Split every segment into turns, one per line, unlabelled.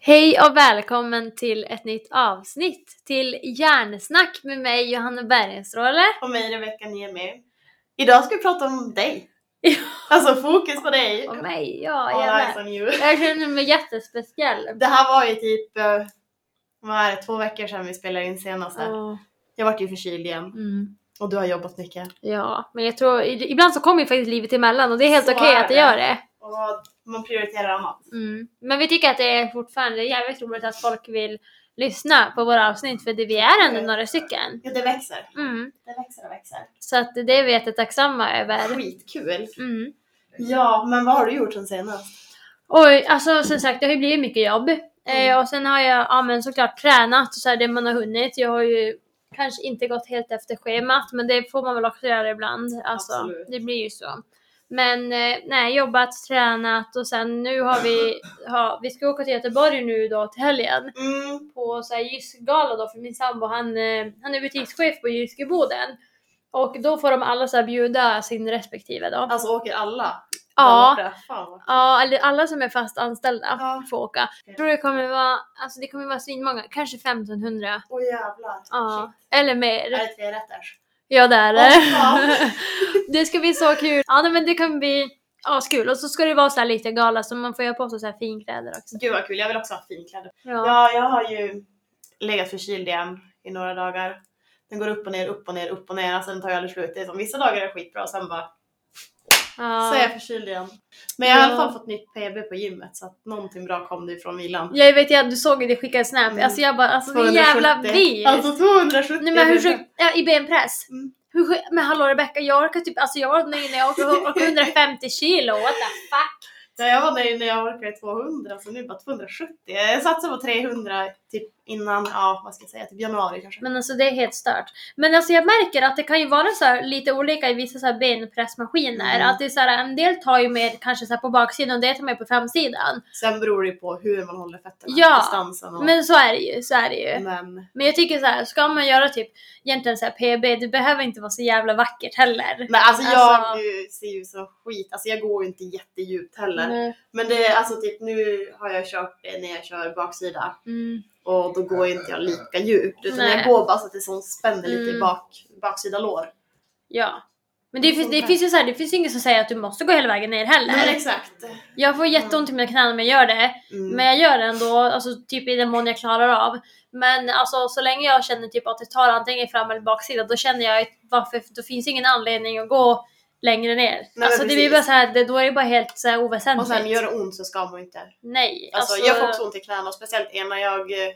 Hej och välkommen till ett nytt avsnitt till Hjärnsnack med mig Johanna Bergenstråle.
Och mig Rebecka Niemi. Idag ska vi prata om dig.
Ja.
Alltså fokus på dig.
Och mig, ja
All
jag
eyes
med.
on you.
Jag känner mig jättespeciell.
Det här var ju typ, eh, vad är det, två veckor sedan vi spelade in senast. här.
Åh,
Jag vart ju förkyld igen
Mm,
och du har jobbat mycket.
ja, men jag tror i- ibland så kommer ju faktiskt livet emellan och det är helt
Så
okej
är
att det
det.
gör det.
Och man prioriterar annat.
Mm. Men vi tycker att det är fortfarande jävligt roligt att folk vill lyssna på våra avsnitt för det vi är ändå några stycken.
Ja, det växer.
Mm.
Det växer och växer.
Så att det är vi jättetacksamma över.
Skitkul.
Mm.
Ja, men vad har du gjort sen senast?
Oj, alltså som sagt det har ju blivit mycket jobb. Eh,
Mm.
och sen har jag ja, men såklart tränat och så här, det man har hunnit. Jag har ju kanske inte gått helt efter schemat men det får man väl också göra ibland. Alltså,
Absolut.
Det blir ju så. Men eh, nej, jobbat, tränat och sen nu har vi, ha, vi ska åka till Göteborg nu då till helgen
Mm.
på så här Jyskgala då för min sambo han, eh, han är butikschef på Jysk i Boden. Och då får de alla så här bjuda sin respektive då.
Alltså åker alla?
Ja.
Där borta? Fan vad-
Ja, eller alla som är fast anställda
Ja.
får åka. Jag tror det kommer vara, alltså det kommer vara svinmånga, kanske 1500.
Åh jävlar.
Ja,
Shit.
eller
Är
mer.
det tre rätter?
Ja, det är
Åh,
det.
fan.
Det ska bli så kul. Ja, nej, men det kan bli askul. Och så ska det vara så här lite gala så man får göra på sig så här finkläder också.
Gud vad kul, jag vill också ha finkläder.
Ja.
Ja, jag har ju legat förkyld igen i några dagar. Den går upp och ner, upp och ner, upp och ner. Alltså den tar ju aldrig slut. Det är som, vissa dagar är det skitbra och sen bara så är jag
ja.
förkyld igen. Men jag har i
Ja.
alla fall fått nytt PB på gymmet så att någonting bra kom det ifrån vilan.
Jag vet, jag, du såg ju det skickade snap.
Mm.
Alltså jag bara, alltså det är jävla
270.
vi.
Alltså 270!
Nej men hur sjukt, ja, i benpress.
Mm.
Hur sjukt, men hallå Rebecca, jag orkar typ, alltså jag var nöjd när jag orkade orkade 150 kilo, what the fuck.
Ja, jag var nöjd när jag orkade 200 så nu bara 270. Jag satsade på 300 typ innan, ja vad ska jag säga, typ januari kanske.
Men alltså det är helt stört. Men alltså jag märker att det kan ju vara så här, lite olika i vissa så här benpressmaskiner.
Mm.
Att det är så här, en del tar ju mer kanske så här på baksidan och det tar mer på framsidan.
Sen beror det ju på hur man håller fötterna,
Ja,
distansen och...
Men så är det ju, så är det ju.
men
Men jag tycker så här, ska man göra typ egentligen så här PB, det behöver inte vara så jävla vackert heller.
Men alltså jag
Alltså-
eh, ser ju så skit, alltså jag går ju inte jättedjupt heller.
Mm.
Men det är alltså typ nu har jag kört det när jag kör baksida
Mm.
och då går ju inte jag lika djupt utan
Nej.
jag går bara så att det som spänner lite
Mm.
i bak, baksida lår.
Ja. Men det, finns- det finns ju så här, det finns ju ingen som säger att du måste gå hela vägen ner heller.
Nej exakt.
Jag får jätteont i mina knän om jag gör det.
Mm.
Men jag gör det ändå, alltså typ i den mån jag klarar av. Men alltså så länge jag känner typ att det tar antingen fram eller baksida, då känner jag att varför, då finns ingen anledning att gå längre ner.
men
alltså det blir
precis.
bara så här, det, då är det bara helt så här
och
oväsentligt.
sen gör det ont så ska man ju inte.
Nej.
Alltså, jag får också ont i knäna och speciellt ena jag eh,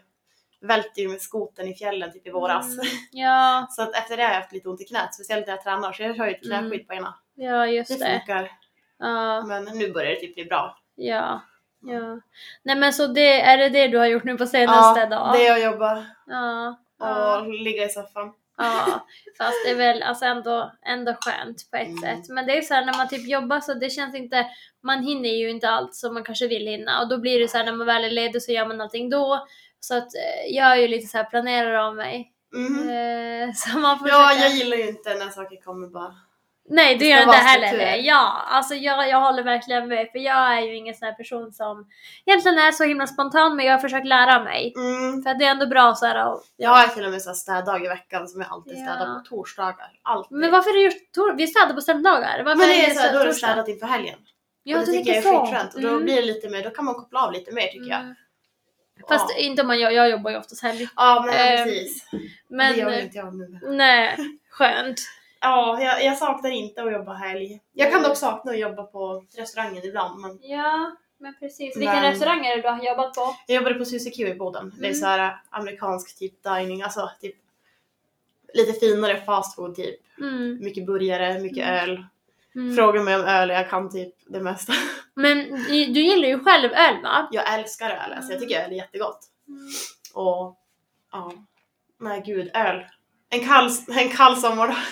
välte ju med skoten i fjällen typ i våras.
Mm, ja,
Så att efter det har jag haft lite ont i knät, speciellt när jag tränar så jag kör ju ett
Mm.
knäskydd på ena.
ja just
Det
det.
funkar.
Ja,
Men nu börjar det typ bli bra.
ja. Ja. Nej men så det, är det det du har gjort nu på senaste dag?
det jag jobbar
Ja.
och
ja.
ligga i soffan.
Ja, fast det är väl alltså ändå, ändå skönt på ett
Mm.
sätt. Men det är ju så här när man typ jobbar så det känns inte, man hinner ju inte allt som man kanske vill hinna och då blir det så här när man väl är ledig så gör man allting då. Så att eh, jag är ju lite så här planerar av mig.
Mhm.
Eh, Så man får
Ja,
försöka-
jag gillar ju inte när saker kommer bara.
Nej, du
ska
gör inte
vara
heller
struktur.
det. Ja, alltså jag, jag håller verkligen med för jag är ju ingen sån här person som egentligen är så himla spontan men jag har försökt lära mig.
Mm.
För att det är ändå bra så här att
Jag har till och med så här städdag i veckan som jag alltid
Ja.
städar på torsdagar. Alltid.
men varför har du gjort tor- Vi städar på söndagar. Varför
Mm. Men det är så här, då har du
torsdag?
städat inför helgen.
Ja,
och det tycker jag är skitskönt. Och då
Mm.
blir det lite mer, då kan man koppla av lite mer tycker jag.
Fast
ja.
inte om man gör, jag jobbar ju oftast helg.
ja, men
Ehm,
precis.
Men eh,
det gör ju inte jag nu.
nej, skönt.
Ja, jag, jag saknar inte att jobba helg. Jag kan dock sakna att jobba på restaurangen ibland. Men
Ja, men precis.
Vilka
Vilka
Men-
restauranger du har jobbat på?
jag jobbade på CCQ i Boden. Det är
Mm.
så här eh, amerikansk typ dining, alltså typ lite finare fast food typ.
Mm.
Mycket burgare, mycket
Mm.
öl.
Mm.
Fråga mig om öl och jag kan typ det mesta.
Men i- du gillar ju själv öl va?
Jag älskar öl, alltså jag tycker öl är jättegott.
Mm.
Och ja, nej gud, öl. En kall, en kall sommardag.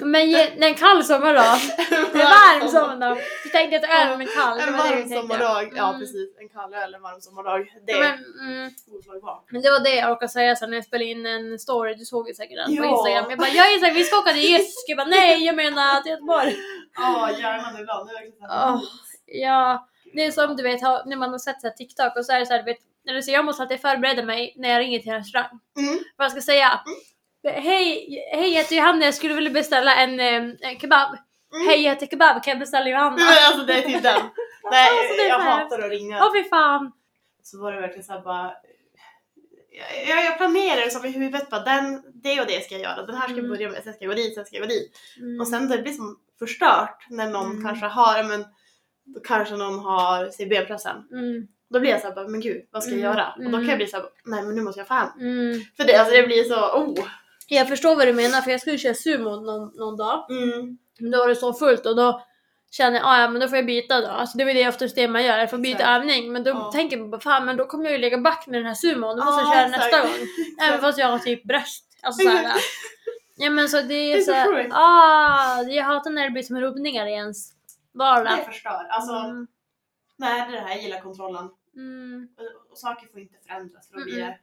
Men ge- nej, en kall sommardag. En varm sommardag. Du tänkte att öl var kall. det
En
var det du
varm
tänkte.
sommardag, ja
Mm.
precis. En kall öl, en varm sommardag. Det
Ja,
är
Men, mm.
oslagbart.
men det var det jag orkade säga sen när jag spelade in en story, du såg ju säkert den på
Ja.
Instagram. Jag bara, jag är så här, vi ska åka till Jysk. Jag bara, nej jag menar till Göteborg.
Ja, hjärnan ibland. Det är verkligen så här-
Åh, Ja, det är som du vet har- när man har sett så här TikTok och så är det så här, du vet, eller så jag måste alltid förbereda mig när jag ringer till en restaurang.
Mm.
Vad jag ska säga. Hej, hej jag heter Johanna, jag skulle vilja beställa en, eh, en kebab.
Mm.
Hej jag heter kebab, kan jag beställa Johanna?
Nej, men alltså det är typ den.
Alltså, det
Nej,
är
jag
så här.
hatar att ringa.
Åh fy fan.
Så var det verkligen såhär bara... Jag, jag, jag planerar som i huvudet bara den, det och det ska jag göra, den här ska jag
Mm.
börja med, sen ska jag gå dit, sen ska jag gå dit.
Mm.
Och sen det blir som förstört när någon
Mm.
kanske har, men då kanske någon har CB-pressen.
Mm.
Då blir jag såhär bara, men gud vad ska jag
Mm,
göra? Och då kan
mm.
jag bli såhär, nej men nu måste jag fan.
Mm.
För det, alltså det blir så, oh!
Jag förstår vad du menar för jag skulle köra sumo någon, någon dag.
Mm.
Men då var det så fullt och då känner jag ah, ja men då får jag byta då. Alltså det är väl det oftast det man gör, jag får byta
Exakt.
övning. Men då
Ja.
tänker man bara fan men då kommer jag ju ligga back med den här sumon, då måste
Ja,
jag köra
exakt.
nästa gång. Även fast jag har typ bröst. Alltså såhär. ja men så det är
Det är så
såhär,
sjukt.
ah, jag hatar när det blir som rubbningar i ens vardag.
Det förstör. Alltså,
Mm.
nej det är det här, jag gillar kontrollen.
Mm.
Och, och saker får inte förändras för då blir
Mm-mm.
det...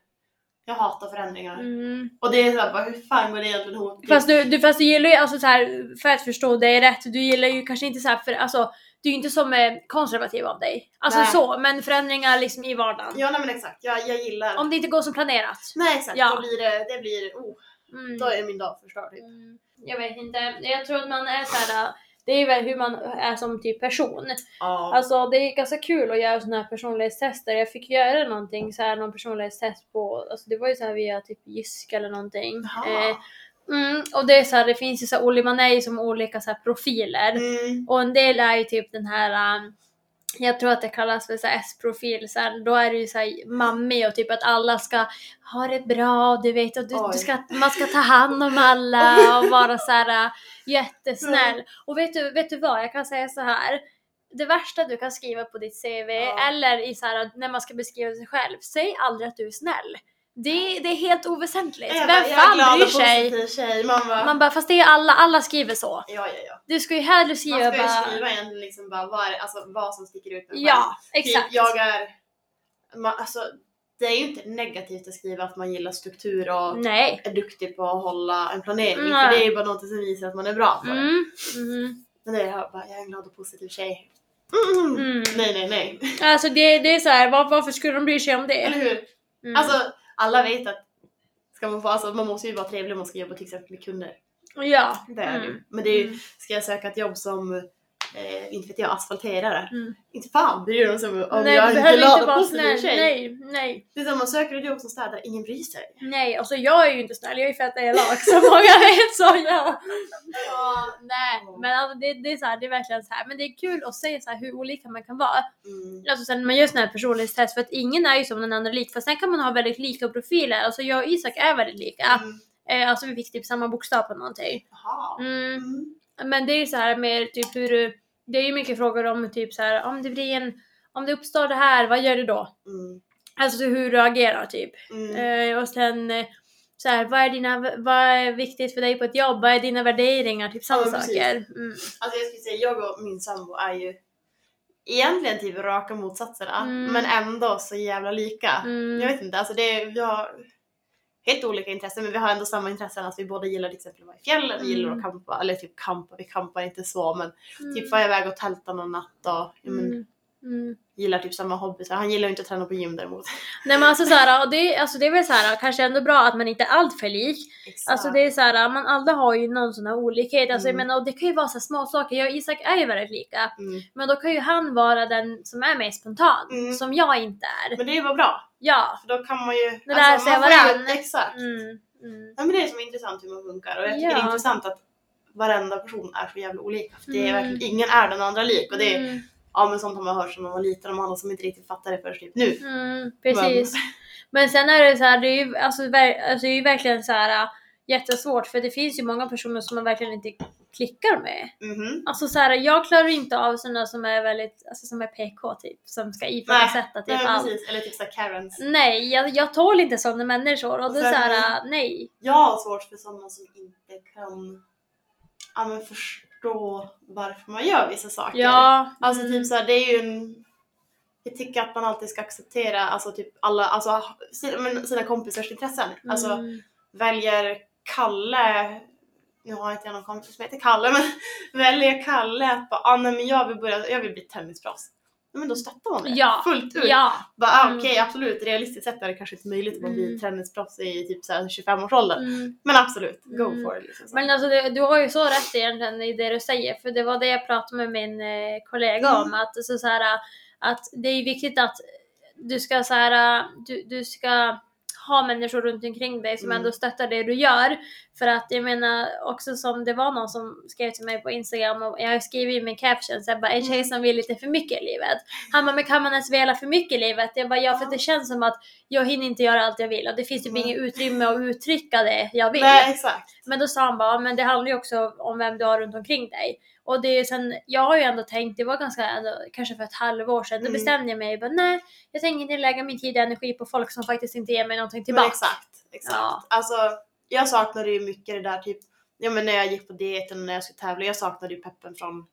Jag hatar förändringar.
Mm.
Och det är såhär bara, hur fan går det egentligen ihop?
Fast du, du, fast du gillar ju, alltså så här, för att förstå dig rätt, du gillar ju kanske inte så här, för alltså du är ju inte som eh, konservativ av dig. Alltså
Nej.
så, men förändringar liksom i vardagen.
Ja nej men exakt, jag, jag gillar.
Om det inte går som planerat.
Nej exakt,
Ja.
då blir det, det blir, oh,
Mm.
då är min dag förstörd. Typ.
Mm. Jag vet inte, jag tror att man är så här. det är väl hur man är som typ person.
Ja.
Alltså det är ganska kul att göra såna här personlighetstester. Jag fick göra någonting så här, någon personlighetstest på, alltså det var ju så här via typ Jysk eller någonting.
Jaha.
Eh, mm, och det är så här, det finns ju så här, oli- man är ju som olika så här profiler.
Mm.
Och en del är ju typ den här, um, jag tror att det kallas för så här S-profil, så här, då är det ju så här mammi och typ att alla ska ha det bra, du vet, och du,
Oj.
du ska, man ska ta hand om alla och vara så här uh, jättesnäll. Och vet du, vet du vad, jag kan säga så här. Det värsta du kan skriva på ditt CV
Ja.
eller i så här, uh, när man ska beskriva sig själv, säg aldrig att du är snäll. Det, det är helt oväsentligt. Vem
Jag bara, jag är glad
fan bryr
och
sig?
positiv tjej. Man bara,
Man bara, fast det är alla, alla skriver så.
ja ja ja.
Du ska ju hellre skriva
Man ska ju
bara...
skriva egentligen liksom bara vad, är, alltså, vad som sticker ut. med en själv.
Ja,
Typ,
exakt.
jag är, man, alltså, det är ju inte negativt att skriva att man gillar struktur och
Nej.
är duktig på att hålla en planering.
Nej.
För det är ju bara något som visar att man är bra på det.
Mm. Mm.
Men det är det här, bara, jag är en glad och positiv tjej. Mm.
Mm.
Nej nej nej.
Alltså det, det är så här, var, varför skulle de bry sig om det?
Eller hur?
Mm.
Alltså alla vet att ska man, få, alltså, man måste ju vara trevlig om man ska jobba till exempel med kunder.
ja.
Det är det ju.
Mm.
Men det är ju,
Mm.
ska jag söka ett jobb som, eh, inte vet jag, asfalterare.
Mm.
Inte fan bryr de sig om om
nej,
jag
du
är
behöver
en glad
inte
och
vara
positiv
snäll.
tjej.
Nej, nej,
Det är som om man söker ett jobb som städare, ingen bryr sig.
nej. Alltså jag är ju inte snäll, jag är fett elak så många vet så jag. Ja, nej, men alltså, det, det är så här, det är verkligen så här. Men det är kul att se så här hur olika man kan vara.
Mm.
Alltså sen när man gör sådana här personlighetstest för att ingen är ju som den andra lik. Fast sen kan man ha väldigt lika profiler. Alltså jag och Isak är väldigt lika.
Mm.
Eh, alltså vi fick typ samma bokstav på någonting.
Jaha.
Mm.
Mm.
Men det är ju så här med typ hur du, det är ju mycket frågor om typ så här om det blir en, om det uppstår det här, vad gör du då?
Mm.
Alltså hur du agerar typ.
Mm.
Eh, och sen eh, så här, vad är dina, vad är viktigt för dig på ett jobb? Vad är dina värderingar? Typ sådana
Ja, men precis.
saker. Mm.
Alltså jag skulle säga, jag och min sambo är ju egentligen typ raka motsatserna.
Mm.
Men ändå så jävla lika.
Mm.
Jag vet inte, alltså det är, vi har helt olika intressen men vi har ändå samma intressen. Alltså vi båda gillar till exempel att vara i fjällen, vi gillar att
Mm.
campa, eller typ campa, vi campar inte så men
Mm.
typ var jag iväg och tälta någon natt och ja, men,
Mm. Mm.
gillar typ samma hobby. Så han gillar ju inte att träna på gym däremot.
Nej men alltså såhär, och det, alltså det är väl såhär kanske ändå bra att man inte är allt för lik.
Exakt.
Alltså det är såhär, man alla har ju någon sån här olikhet. Alltså
Mm.
jag menar, och det kan ju vara så här små saker. Jag och Isak är ju väldigt lika.
mm.
Men då kan ju han vara den som är mer spontan,
Mm.
som jag inte är.
Men det är ju bara bra,
Ja.
för då kan man ju... Alltså,
Det lär sig
man får ju-
varann.
Exakt.
Mm. Mm.
Ja, men det är som är intressant hur man funkar och jag tycker det
Ja.
är intressant att varenda person är så jävla olika. För det är
Mm.
verkligen, ingen är den andra lik och det är,
Mm.
ja men sånt har man hört sedan man var liten och man har som inte riktigt fattar det förrän typ nu.
Mm. Precis. Men sen är det så här, det är ju, alltså, ver- alltså, det är ju verkligen så här äh, jättesvårt för det finns ju många personer som man verkligen inte klickar med.
Mhm.
Alltså så här, jag klarar ju inte av sådana som är väldigt, alltså som är PK typ, som ska ifrågasätta
Nej,
typ
men
allt.
precis. Eller typ såhär Karens.
Nej, jag, jag tål inte sådana människor och
Och
det är
sen-
så här, äh, nej.
Jag har svårt för sådana som inte kan ja, men förstå varför man gör vissa saker.
Ja.
Alltså
mm.
typ såhär, det är ju en... Jag tycker att man alltid ska acceptera alltså, typ alla, alltså, sina, men sina kompisars intressen. Alltså
Mm.
väljer Kalle, nu har inte jag någon kompis som heter Kalle, men väljer Kalle att bara, ah, nej men jag vill börja, jag vill bli tennisproffs. men då stöttar man det
Ja.
fullt ut.
Ja.
Bara, ah,
Mm.
Okej absolut, realistiskt sett är det kanske inte möjligt att man blir
Mm.
träningsproffs i typ så här 25-årsåldern.
Mm.
Men absolut, go
Mm.
for it. Liksom, så.
Men alltså det, du har ju så rätt egentligen i det du säger, för det var det jag pratade med min eh, kollega om,
Mm.
att, så, så här, att det är viktigt att du ska, så här, du, du ska ha människor runt omkring dig som
Mm.
ändå stöttar det du gör. För att jag menar också som det var någon som skrev till mig på Instagram och jag skrev i min caption så jag bara en
Mm.
tjej som vill lite för mycket i livet. Han bara men kan man ens vilja för mycket i livet? Jag bara ja för att det känns som att jag hinner inte göra allt jag vill och det finns typ
Nej.
inget utrymme att uttrycka det jag vill.
Nej exakt.
Men då sa han bara, men det handlar ju också om vem du har runt omkring dig. Och det är sen, jag har ju ändå tänkt, det var ganska, ändå, kanske för ett halvår sedan, då
Mm.
bestämde jag mig, bara, nej, jag tänker inte lägga min tid och energi på folk som faktiskt inte ger mig någonting
Men
tillbaka.
exakt. exakt.
Ja.
Alltså, jag saknade ju mycket det där typ, ja men när jag gick på dieten och när jag skulle tävla, jag saknade ju peppen från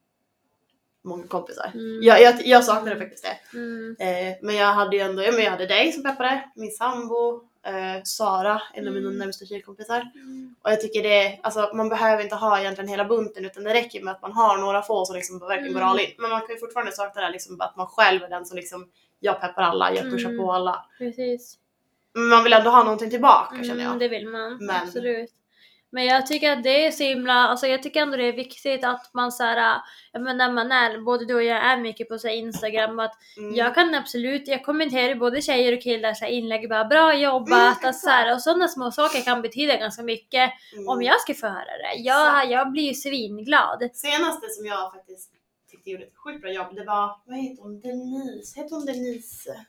många kompisar.
Mm.
Jag, jag, jag saknade faktiskt det.
Mm.
Eh, men jag hade ju ändå, ja men jag hade dig som peppade, min sambo, eh, Sara, en av mina
Mm.
närmsta tjejkompisar. Och jag tycker det, alltså man behöver inte ha egentligen hela bunten utan det räcker med att man har några få som liksom verkligen går
Mm.
all in. Men man kan ju fortfarande sakna det här liksom att man själv är den som liksom, jag peppar alla, jag pushar
Mm.
på alla.
Precis.
Men man vill ändå ha någonting tillbaka känner jag.
Mm, det vill man,
Men-
absolut. Men jag tycker att det är så himla, alltså jag tycker ändå det är viktigt att man såhär, men när man är, både du och jag är mycket på så här Instagram och att
Mm.
Jag kan absolut, jag kommenterar ju både tjejer och killar så här inlägg bara bra jobbat
Mm,
att så här, och sådana små saker kan betyda ganska mycket
Mm.
om jag ska få höra det. Jag,
Exakt.
jag blir ju svinglad.
Senaste som jag faktiskt tyckte gjorde ett sjukt bra jobb, det var, vad heter hon, Denise? Heter hon Denise?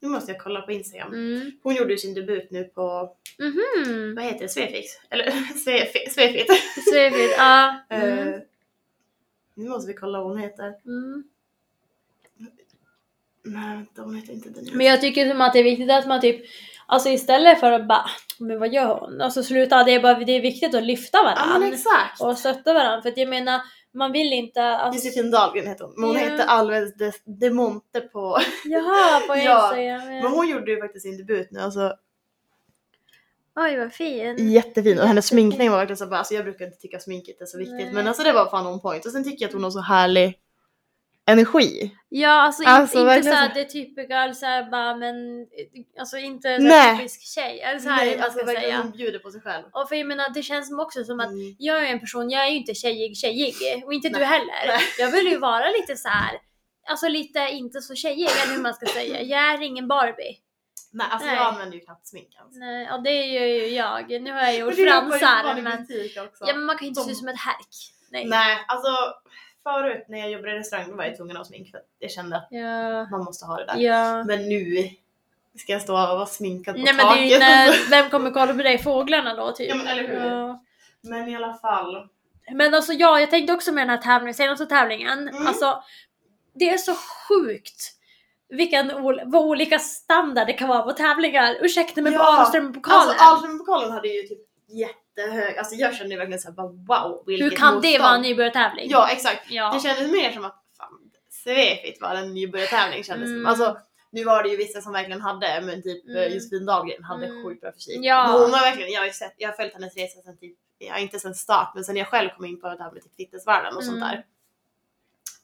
Nu måste jag kolla på Instagram.
Mm.
Hon gjorde ju sin debut nu på,
Mhm.
vad heter det, Svefix? Eller Svefi- Svefit.
Svefint, ja. Mm.
Eh, nu måste vi kolla vad hon heter.
Mm.
Nej vänta, hon heter inte Denise.
Men jag tycker som att det är viktigt att man typ, alltså istället för att bara men vad gör hon? Och så sluta, det är bara det är viktigt att lyfta
ja men
varandra
exakt!
och stötta varandra för att jag menar man vill inte, alltså,
Josefin Dahlgren heter hon, men hon
Ja.
hette Alves de, de Monte på...
jaha på
Ja,
Instagram.
Men hon gjorde ju faktiskt sin debut nu, alltså
Oj vad fin.
Mm. jättefin och hennes
Jättefin.
sminkning var verkligen så bara, alltså jag brukar inte tycka sminket är så viktigt
Nej.
men alltså det var fan on point och sen tycker jag att hon har så härlig energi.
Ja, alltså, in-
Alltså,
inte
verkligen
såhär
så-
det typiska, såhär bara men, alltså inte
Nej.
en typisk tjej, eller såhär
Nej,
man
alltså
ska
verkligen
säga.
hon bjuder på sig själv.
Och för jag menar, det känns som också som att
Mm.
jag är en person, jag är ju inte tjejig tjejig, och inte du
Nej.
heller.
Nej.
Jag vill ju vara lite så här. alltså lite inte så tjejig, eller hur man ska säga. Jag är ingen Barbie.
Nej alltså
Nej.
jag använder ju knappt smink ens.
Nej, ja det är ju jag, nu har jag gjort
Men det ropar ju
fransar
fan i
men,
butik också.
ja, men man kan ju inte se
De-
ut som ett härk. Nej.
Nej alltså förut när jag jobbade i restaurang då var jag tvungen att ha smink för att jag kände att
Ja.
man måste ha det där.
Ja.
Men nu ska jag stå och vara sminkad på
Nej men det är
taket.
ju när, vem kommer kolla på dig? Fåglarna då typ?
Ja, men eller hur?
Ja.
Men i alla fall.
Men alltså ja, jag tänkte också med den här tävlingen, senaste tävlingen,
Mm.
alltså det är så sjukt vilken ol- vad olika standard det kan vara på tävlingar. Ursäkta men på
Ja,
Ahlström-pokalen,
Alltså Alströmpokalen hade ju typ jättehög, alltså jag kände ju verkligen såhär bara, wow vilket
hur kan det
motstånd.
vara en nybörjartävling?
Ja exakt.
Ja.
Det kändes mer som att fan, Svefit var en nybörjartävling kändes det
Mm.
som. Alltså, nu var det ju vissa som verkligen hade, men typ
Mm.
mm. Josefin Dahlgren hade
Mm.
sjukt bra fysik.
Ja.
Men hon har verkligen, jag har, ju sett, jag har följt hennes resa sen typ, ja, inte sen start, men sen jag själv kom in på det här med typ fitnessvärlden och sånt
Mm.
där.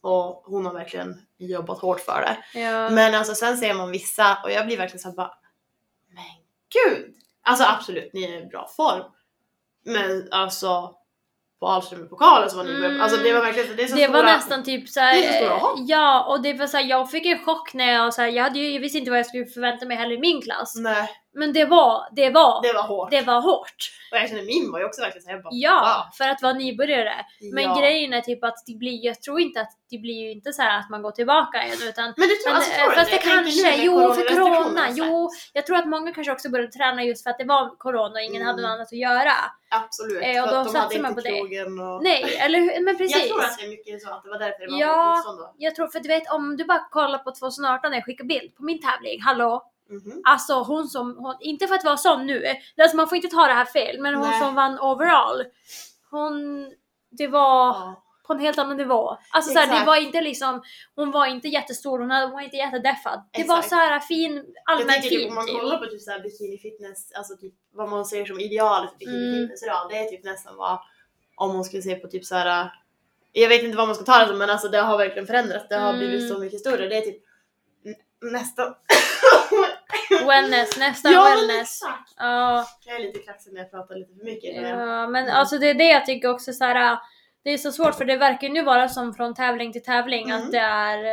Och hon har verkligen jobbat hårt för det.
Ja.
Men alltså sen ser man vissa och jag blir verkligen såhär bara, men gud! Alltså absolut, ni är i bra form. Men alltså på Ahlström-pokalen så var ni
Mm.
alltså det var verkligen så, det är så
det var
stora-
nästan typ såhär,
Det är så stora hopp.
ja och det var såhär, jag fick en chock när jag, såhär, jag, hade ju, jag visste inte vad jag skulle förvänta mig heller i min klass.
Nej,
Men det var, det var, det,
det var hårt.
var hårt.
Och jag känner min var ju också verkligen såhär, jag bara
Ja, för att vara nybörjare.
wow.
Men
Ja.
grejen är typ att det blir, jag tror inte att det blir ju inte så här att man går tillbaka igen utan
Men du tror,
men,
alltså, tror
eh,
du
fast det
Jag tänker nu
kanske,
med
jo för corona,
coronarestriktionerna,
jo. Jag tror att många kanske också började träna just för att det var corona och ingen
Mm.
hade något annat att göra.
Absolut,
Eh, och
för att
då
de
satsar
hade
man
inte
på det.
krogen och...
Nej, eller hur? Men precis.
Jag tror att det är mycket så att det var därför det var
Ja.
hårt motstånd då.
Jag tror, för du vet om du bara kollar på 2018 när jag skickar bild på min tävling, hallå?
Mhm.
Alltså hon som, hon, inte för att vara sån nu, alltså man får inte ta det här fel, men hon
Nej.
som vann overall, hon, det var
Ja.
på en helt annan nivå. Alltså såhär, det
Exakt.
var inte liksom, hon var inte jättestor, hon, hade, hon var inte jättedeffad. Det var
Exakt.
så här fin,
Jag
allmänt
tänker
fin.
typ om man
typ.
kollar på typ såhär bikini fitness, alltså typ vad man ser som idealet för bikini
Mm.
fitness idag, det är typ nästan vad om man skulle se på typ såhär jag vet inte vad man ska ta det som men alltså det har verkligen förändrats. Det har
Mm.
blivit så mycket större. Det är typ n- nästan...
Wellness, nästan
men
wellness.
exakt!
Ja,
Jag är lite kaxig när jag pratar lite för mycket. men-
ja, men alltså det är det jag tycker också så här. Det är så svårt för det verkar ju nu vara som från tävling till tävling
Mm.
att det är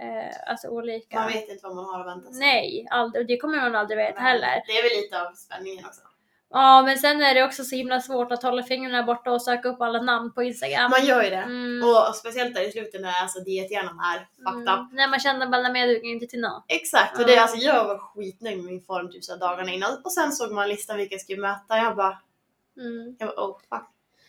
eh, alltså olika.
Man vet inte vad man har att vänta sig.
Nej, aldrig. Och det kommer man aldrig veta
Men
heller.
Det är väl lite av spänningen också.
Ja, men sen är det också så himla svårt att hålla fingrarna borta och söka upp alla namn på Instagram.
Man gör ju det.
Mm.
Och speciellt där i slutet när alltså, diethjärnan är fucked up.
Mm. När man känner bara, men jag duger inte till något.
Exakt, och det,
Ja.
alltså, jag var skitnöjd med min form typ så här dagarna innan. Och sen såg man listan vilka jag skulle möta. Jag bara,
Mm.
jag bara oh fuck.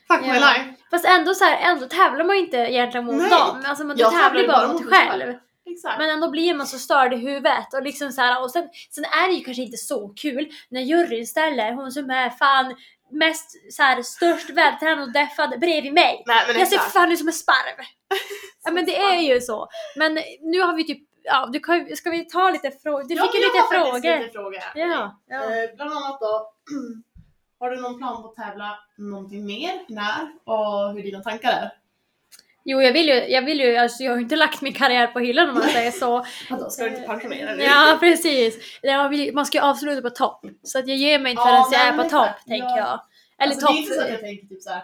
Fuck
Ja.
my life.
Fast ändå så här, ändå tävlar man ju inte egentligen mot
Nej.
dem. Alltså, man, du
Jag
tävlar ju
tävlar
bara mot dig själv.
Exakt.
Men ändå blir man så störd i huvudet. Och, liksom så här, och sen, sen är det ju kanske inte så kul när juryn ställer hon som är fan mest så här, störst vältränad och deffad bredvid mig.
Nej men
Jag ser
exakt.
för fan ut som en sparv! ja men det är ju så. Men nu har vi typ, ja du kan, ska vi ta lite frågor? Du
Ja,
fick ju
jag
lite
har faktiskt
frågor.
lite frågor.
Ja, ja.
Eh, bland annat då, har du någon plan på att tävla någonting mer? När? Och hur dina tankar är?
Jo jag vill ju, jag vill ju, alltså jag har ju inte lagt min karriär på hyllan om man säger så.
Vadå, ska du inte pensionera dig?
Eh, ja precis. Nej, man vill- Man ska ju avsluta på topp. Så att jag ger mig inte
Ja,
förrän jag
nej,
är
men
på
exakt.
topp tänker
Ja.
jag. Eller
alltså, Det är inte så att
topp.
jag tänker typ såhär,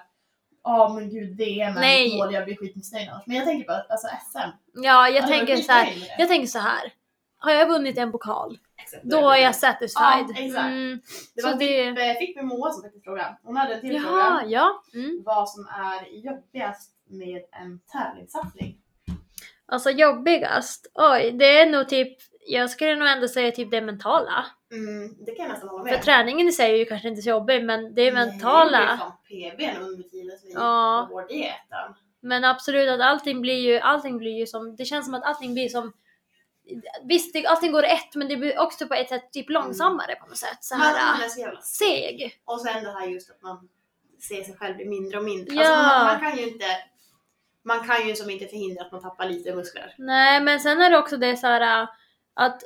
ja men gud VM
Nej.
är mål, jag blir skitmissnöjd annars. Men jag tänker bara alltså SM.
Ja jag
hade
tänker
varit
så här.
skitnöjd med Alltså, det.
Jag tänker så här. Har jag vunnit en pokal,
Exakt, det
då är
blir-
jag satisfied.
Ja, exakt.
Mm,
Det
så
var
det-
typ, eh, fick vi Moa som faktiskt fråga. Hon hade en till
Jaha,
fråga.
ja. Mm.
Vad som är jobbigast med en tävlingssatsning.
Alltså jobbigast? Oj, det är nog typ, jag skulle nog ändå säga typ det mentala.
Mm, det kan jag nästan hålla
För
med
träningen i sig är ju kanske inte så jobbig, men det är
Nej, Det är liksom
mentala.
fan PBn under tiden som vi
Ja.
gick på vår dieten.
Men absolut att allting blir ju, allting blir ju som, det känns som att allting blir som Visst, det, allting går rätt men det blir också på ett sätt typ långsammare på något sätt. Så här,
Man är så jävla
seg.
Och sen det här just att man ser sig själv bli mindre och mindre.
Ja.
Alltså man, man kan ju inte man kan ju som inte förhindra att man tappar lite muskler.
Nej men sen är det också det så här äh, att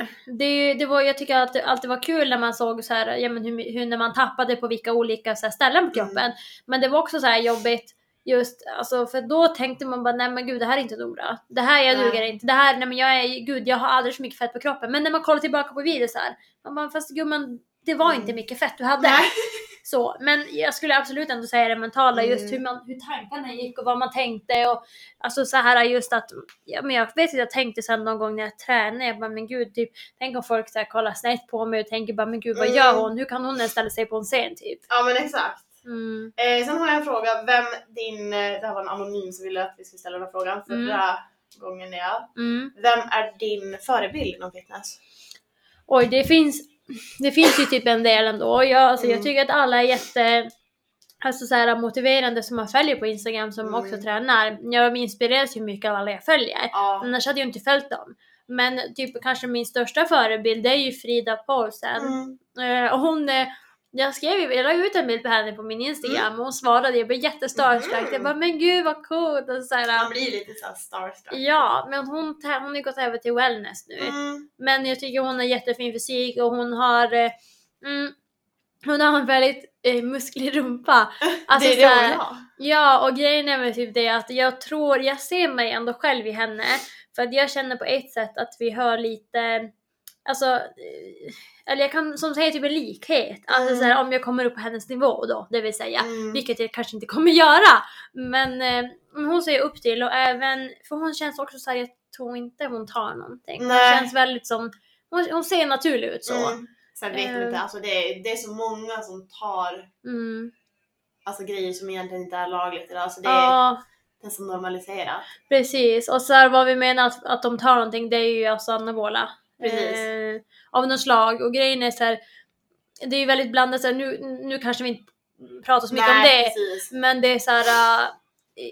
eh, det, är ju- det var, jag tycker att det alltid var kul när man såg så här, ja, men hur, hur när man tappade på vilka olika så här, ställen
Mm.
på kroppen. Men det var också så här jobbigt just alltså, för då tänkte man bara nej men gud det här är inte Dora. Det här jag
Nej.
duger inte. Det här, nej men jag är, gud jag har alldeles för mycket fett på kroppen. Men när man kollar tillbaka på videos så här, man bara, fast gumman det var
Mm.
inte mycket fett du hade. Så, men jag skulle absolut ändå säga det mentala, just
Mm.
hur, man, hur tankarna gick och vad man tänkte. Och, alltså så här just att, ja, men jag vet att jag tänkte sen någon gång när jag tränade, jag bara men gud, typ, tänk om folk så här kollar snett på mig och tänker bara men gud vad
Mm.
gör hon? Hur kan hon ens ställa sig på en scen typ?
Ja men exakt.
Mm.
Eh, sen har jag en fråga. Vem din, eh, det här var en anonym som ville att vi skulle ställa den här frågan förra gången ja.
Mm.
Vem är din förebild inom fitness?
Oj, det finns, det finns ju typ en del ändå. Jag, alltså, jag
Mm.
tycker att alla är jätte alltså, så här, motiverande som man följer på Instagram som
Mm.
också tränar. Jag inspireras ju mycket av alla jag följer.
Ja.
Annars hade jag inte följt dem. Men typ kanske min största förebild det är ju Frida Paulsen.
Mm.
Eh, och hon, eh, jag skrev ju, jag la ut en bild på henne på min Instagram och hon svarade, jag blev jättestarstruck.
Mm.
Jag bara men gud vad coolt! Och så
Man
här,
blir lite såhär starstruck.
ja, men hon, tä- hon har ju gått över till wellness nu.
Mm.
Men jag tycker hon har jättefin fysik och hon har eh, mm, hon har en väldigt eh, musklig rumpa. Alltså,
det är
så
det hon
här-
vill ha.
Ja, och grejen är väl typ det att jag tror, jag ser mig ändå själv i henne. För att jag känner på ett sätt att vi har lite, alltså, eh, eller jag kan som säger typ en likhet. Alltså
Mm.
så här, om jag kommer upp på hennes nivå då, det vill säga.
Mm.
Vilket jag kanske inte kommer göra. Men eh, hon ser jag upp till och även, för hon känns också så här, jag tror inte hon tar någonting. Hon
Nej.
känns väldigt som, hon, hon ser naturlig ut så. Mm.
Mm. Sen vet
Eh.
du inte, alltså det, är, det är så många som tar
Mm.
alltså, grejer som egentligen inte är lagligt idag. Alltså, det är
Ja,
det som normaliserat.
Precis, och så här, vad vi menar att, att de tar någonting det är ju alltså anabola.
Precis.
Eh, av något slag och grejen är så här, det är ju väldigt blandat, så här, nu, nu kanske vi inte pratar så mycket om det.
precis.
Men det är så här, eh,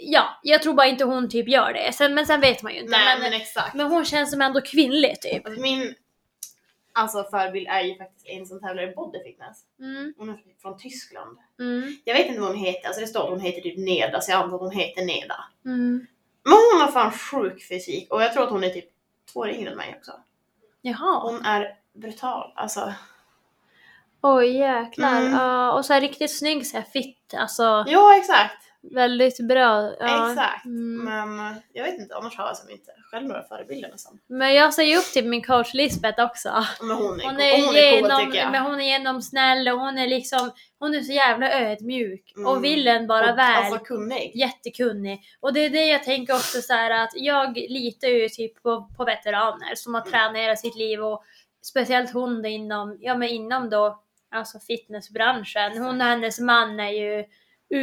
ja, jag tror bara inte hon typ gör det. Sen, men sen vet man ju inte.
Nej men
men,
exakt.
men hon känns som ändå kvinnlig typ.
Alltså, min alltså, förebild är ju faktiskt en som tävlar i body fitness.
Mm,
Hon är från Tyskland.
mm,
Jag vet inte vad hon heter, alltså det står att hon heter typ Neda så jag antar att hon heter Neda.
mm.
Men hon har fan sjuk fysik och jag tror att hon är typ två år yngre än mig också.
Jaha.
Hon är brutal alltså.
Oj jäklar.
Mm.
Ja, och så här riktigt snygg så här fitt alltså.
Ja exakt!
Väldigt bra. Ja.
Exakt.
Mm.
Men eh, jag vet inte, annars har jag som inte själv några förebilder nästan.
Men jag säger upp till min coach Lisbeth också.
Men hon är,
Hon
cool-
är,
hon är
genom,
cool tycker jag.
men hon är genomsnäll och hon är liksom, hon är så jävla ödmjuk
Mm.
och vill en bara
Och-
väl.
Alltså kunnig.
Jättekunnig. Och det är det jag tänker också så här att jag litar ju typ på, på veteraner som har tränat hela sitt liv och speciellt hon då inom, ja men inom då, alltså fitnessbranschen. Hon och hennes man är ju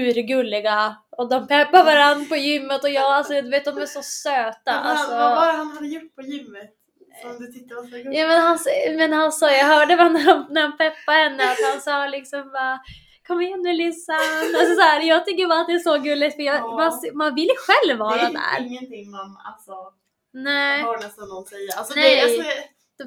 urgulliga och de peppar varandra på gymmet och jag, alltså du vet de är så söta.
Men vad- Vad
Alltså.
var det han hade gjort på gymmet? Som du tyckte var så gulligt?
Ja, men, han, men han sa, jag hörde vad när han, när han peppade henne, att han sa liksom bara Kom igen nu Lissan! Alltså så här, jag tycker bara att det är så gulligt för jag,
Ja.
man, man vill ju själv vara
det är
där.
ingenting man alltså,
Nej,
hör nästan någon säga. Alltså,
Nej.
det, alltså,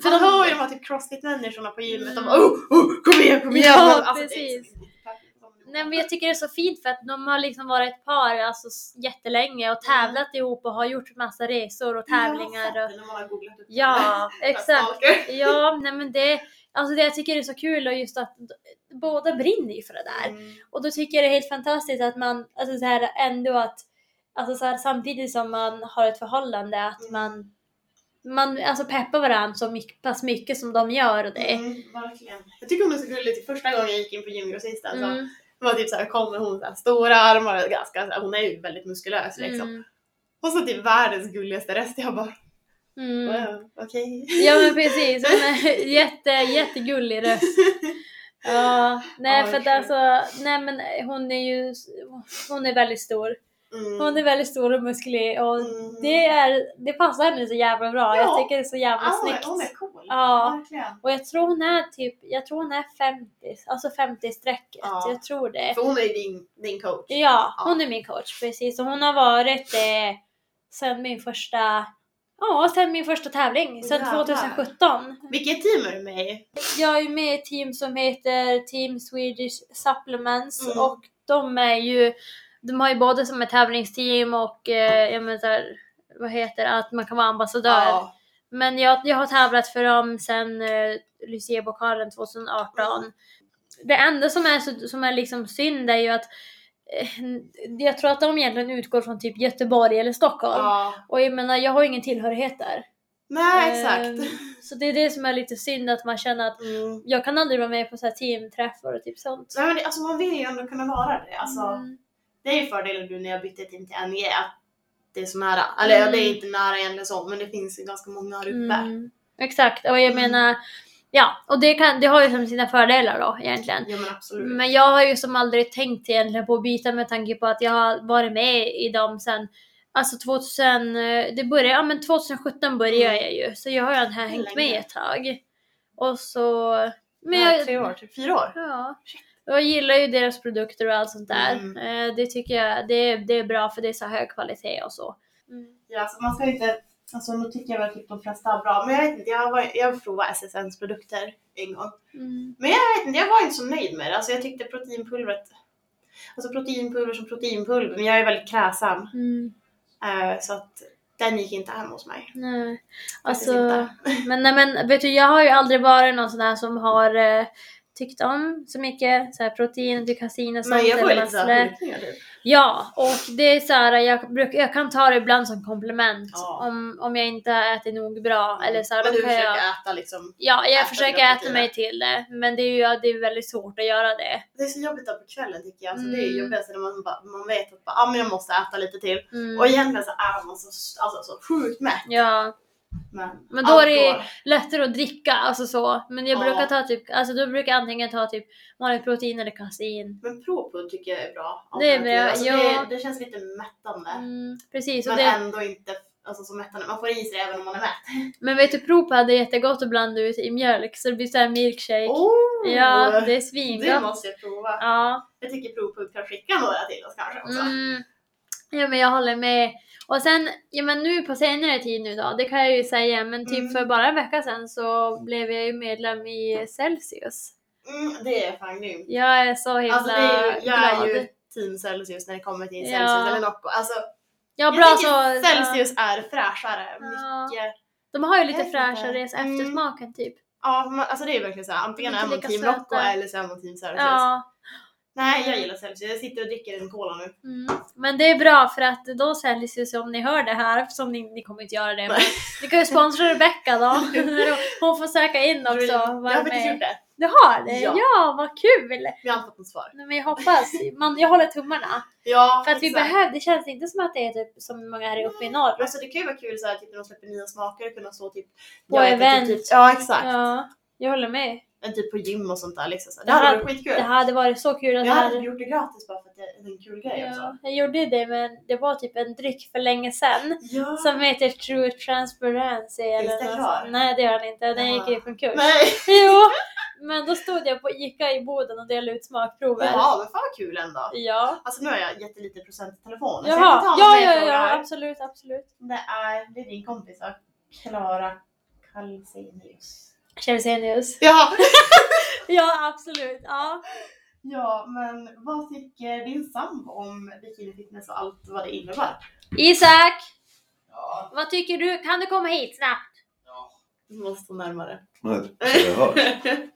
för
man hör ju
de,
de här typ crossfit-människorna på gymmet.
Mm.
De bara oh, oh, kom igen, kom igen!
Ja,
Men, alltså,
precis.
Det är,
nej, men jag tycker det är så fint för att de har liksom varit ett par alltså, s- jättelänge och tävlat ihop och har gjort massa resor och tävlingar.
Jag har
Och,
sett det när man har googlat upp
ja,
det här
exakt.
saker.
Ja, nej, men det, alltså, det jag tycker det är så kul och just att d- båda brinner ju för det där.
Mm.
Och då tycker jag det är helt fantastiskt att man alltså, så här, ändå att alltså, så här, samtidigt som man har ett förhållande att
Mm.
man man alltså peppar varandra så mycket, pass mycket som de gör och det.
Mm, verkligen. Jag tycker hon är så gullig. Typ första gången jag gick in på gymgrossisten så
Mm,
det var typ såhär, kommer hon såhär, stora armar och ganska såhär, hon är ju väldigt muskulös liksom.
mm,
Och så typ världens gulligaste röst. Jag bara
mm.
wow, okej.
Ja men precis, hon är jätte, jättegullig röst. Ja, nej
Ja,
för att
kul.
alltså, nej men hon är ju, hon är väldigt stor.
Mm.
Hon är väldigt stor och musklig och
Mm.
det, är, det passar henne så jävla bra. Jag
Ja.
tycker det är så jävla
Ja, hon är-
snyggt.
Hon är cool.
Ja.
Verkligen.
Och jag tror hon är typ, jag tror hon är 50, alltså 50 strecket.
Ja.
Jag tror det.
För hon är ju din, din coach.
Ja,
Ja.
hon är min coach precis och hon har varit eh, sen min första, ja sen min första tävling, sen
Jävlar.
2017.
Vilket team är du med i?
Jag är med i ett team som heter Team Swedish Supplements
Mm.
och de är ju, de har ju både som ett tävlingsteam och eh, jag menar, så här, vad heter det, att man kan vara ambassadör.
Ja.
Men jag, jag har tävlat för dem sedan eh, Lucia-pokalen 2018. Det enda som är, så, som är liksom synd är ju att eh, jag tror att de egentligen utgår från typ Göteborg eller Stockholm.
ja.
Och jag menar, jag har ingen tillhörighet där.
Nej,
Ehm,
exakt.
så det är det som är lite synd, att man känner att
Mm.
jag kan aldrig vara med på så här teamträffar och typ sånt.
Nej, men det, alltså, man vill ju ändå kunna vara det. Alltså,
Mm.
Det är ju fördelen nu när jag bytte team till NG, att det är så nära. Eller ja, det är
Mm.
inte nära egentligen så, men det finns ju ganska många här uppe.
Mm. Exakt, och jag
Mm.
menar, ja, och det, kan, det har ju som sina fördelar då egentligen.
Ja men absolut.
Men jag har ju som aldrig tänkt egentligen på att byta med tanke på att jag har varit med i dem sen Alltså 2000, eh, det började, ja men 2017 började
Mm.
jag ju så jag har ju här hängt med
Länge.
ett tag. Och så... Men
Nej,
jag,
tre år, typ fyra år.
ja, Och jag gillar ju deras produkter och allt sånt där.
Mm.
Eh, Det tycker jag det, är- det är bra för det är så hög kvalitet och så.
Ja, alltså, man ska ju inte, alltså nu tycker jag väl typ de flesta är bra, men jag vet inte, jag, var, jag provade SSNs produkter en gång.
Mm.
Jag vet inte, jag var inte så nöjd med det. Alltså jag tyckte proteinpulvret, alltså proteinpulver som proteinpulver, men jag är väldigt kräsen.
Mm.
Eh, så att den gick inte hem hos mig.
Nej.
Faktiskt
Alltså,
inte.
men, nej, men vet du, jag har ju aldrig varit någon sån här som har eh, tyckt om så mycket så här, protein, dukasin och sånt.
Men jag får
eller
ju lite såhär
musslor.
hulkningar typ.
Ja, och det är så här, jag, bruk, jag kan ta det ibland som komplement
Ja.
om, om jag inte har ätit nog bra. Eller så här,
Men
då
du
kan
försöker
jag,
äta liksom.
Ja, jag
äta
försöker
dina
äta mig till det, men det är ju ja, det är väldigt svårt att göra det.
Det är så jobbigt där på kvällen tycker jag. Alltså, Det är ju
Mm.
jobbigast när man, bara, man vet att bara, ah, men jag måste äta lite till.
Mm.
Och egentligen så är man så, alltså, så sjukt mätt.
Ja,
Men,
Men då
allt
är det-
går.
lättare att dricka, alltså så. Men jag
Alltså- Ja.
brukar ta typ, alltså då brukar jag antingen ta typ vanligt protein eller kasein.
Men propud tycker jag är bra.
Det är bra,
Alltså,
ja.
det, det känns lite mättande.
Mm, precis, och
men
det,
ändå inte alltså, så mättande. Man får i sig det även om man är mätt.
men vet du Propad är jättegott att blanda ut i mjölk så det blir såhär milkshake.
Oh,
ja, det är
det
svingott.
måste jag prova.
Ja.
Jag tycker propud kan skicka några till oss kanske också.
Mm. ja, men jag håller med. Och sen, ja men nu på senare tid nu då, det kan jag ju säga, men typ
Mm.
för bara en vecka sedan så blev jag ju medlem i Celsius.
Mm, det är fan grymt.
Jag är så himla
Alltså, det är ju, jag är
glad.
ju team Celsius när det kommer till Celsius
Ja.
eller Nocco. Alltså,
ja,
jag
bra så.
tycker Celsius är fräschare.
Ja.
Mycket.
De har ju
Jag
lite
vet inte.
fräschare så
Mm.
eftersmaken typ.
Ja, man, alltså det är ju verkligen så här, antingen
Inte
är man
lika
team
söta.
Nocco eller så är man team Celsius.
Ja.
Nej, jag gillar Celsius. Jag sitter och dricker en cola nu.
Mm. Men det är bra för att då säljs ju om ni hör det här, eftersom ni, ni kommer inte göra det. Men ni kan ju sponsra Rebecca då. Hon får söka in också.
jag har faktiskt gjort det.
Du har det?
Ja.
Ja, vad kul!
Vi har inte fått något svar.
Nej, men jag hoppas. Man, jag håller tummarna.
Ja,
För att vi
exakt.
behöver, det känns inte som att det är typ som många här uppe i norr.
Alltså det kan ju vara kul så här, typ, när de släpper nya smaker och kunna stå typ
På
jag äter
event.
Typ, ja exakt.
Ja, jag håller med.
Men typ på gym och sånt där liksom. Så här,
Det hade-
Det hade varit skitkul.
Det hade varit så kul att
Jag
det
hade
hade...
gjort det gratis bara för att det är en kul grej också.
Ja, jag gjorde det men det var typ en dryck för länge sedan
Ja.
som heter True Transparency eller
det
något
kvar?
sånt. Nej det gör den inte, den gick
Jaha.
ju i konkurs.
Nej!
Jo! Men då stod jag på ICA i Boden och delade ut smakprover.
Ja men fan vad kul ändå.
Ja.
Alltså nu har jag jättelite procent i telefonen så jag
Jaha.
kan ta
Ja,
mig
ja,
frågor
ja,
här.
absolut, absolut.
Det är, det är din kompis va? Klara Kalsenius.
Chelsenius.
Ja.
Ja, absolut. Ja.
ja men vad tycker din sambo om bikini fitness och allt vad det innebär?
Isak!
Ja.
Vad tycker du? Kan du komma hit snabbt?
Du måste stå närmare.
Nej, så jag hör.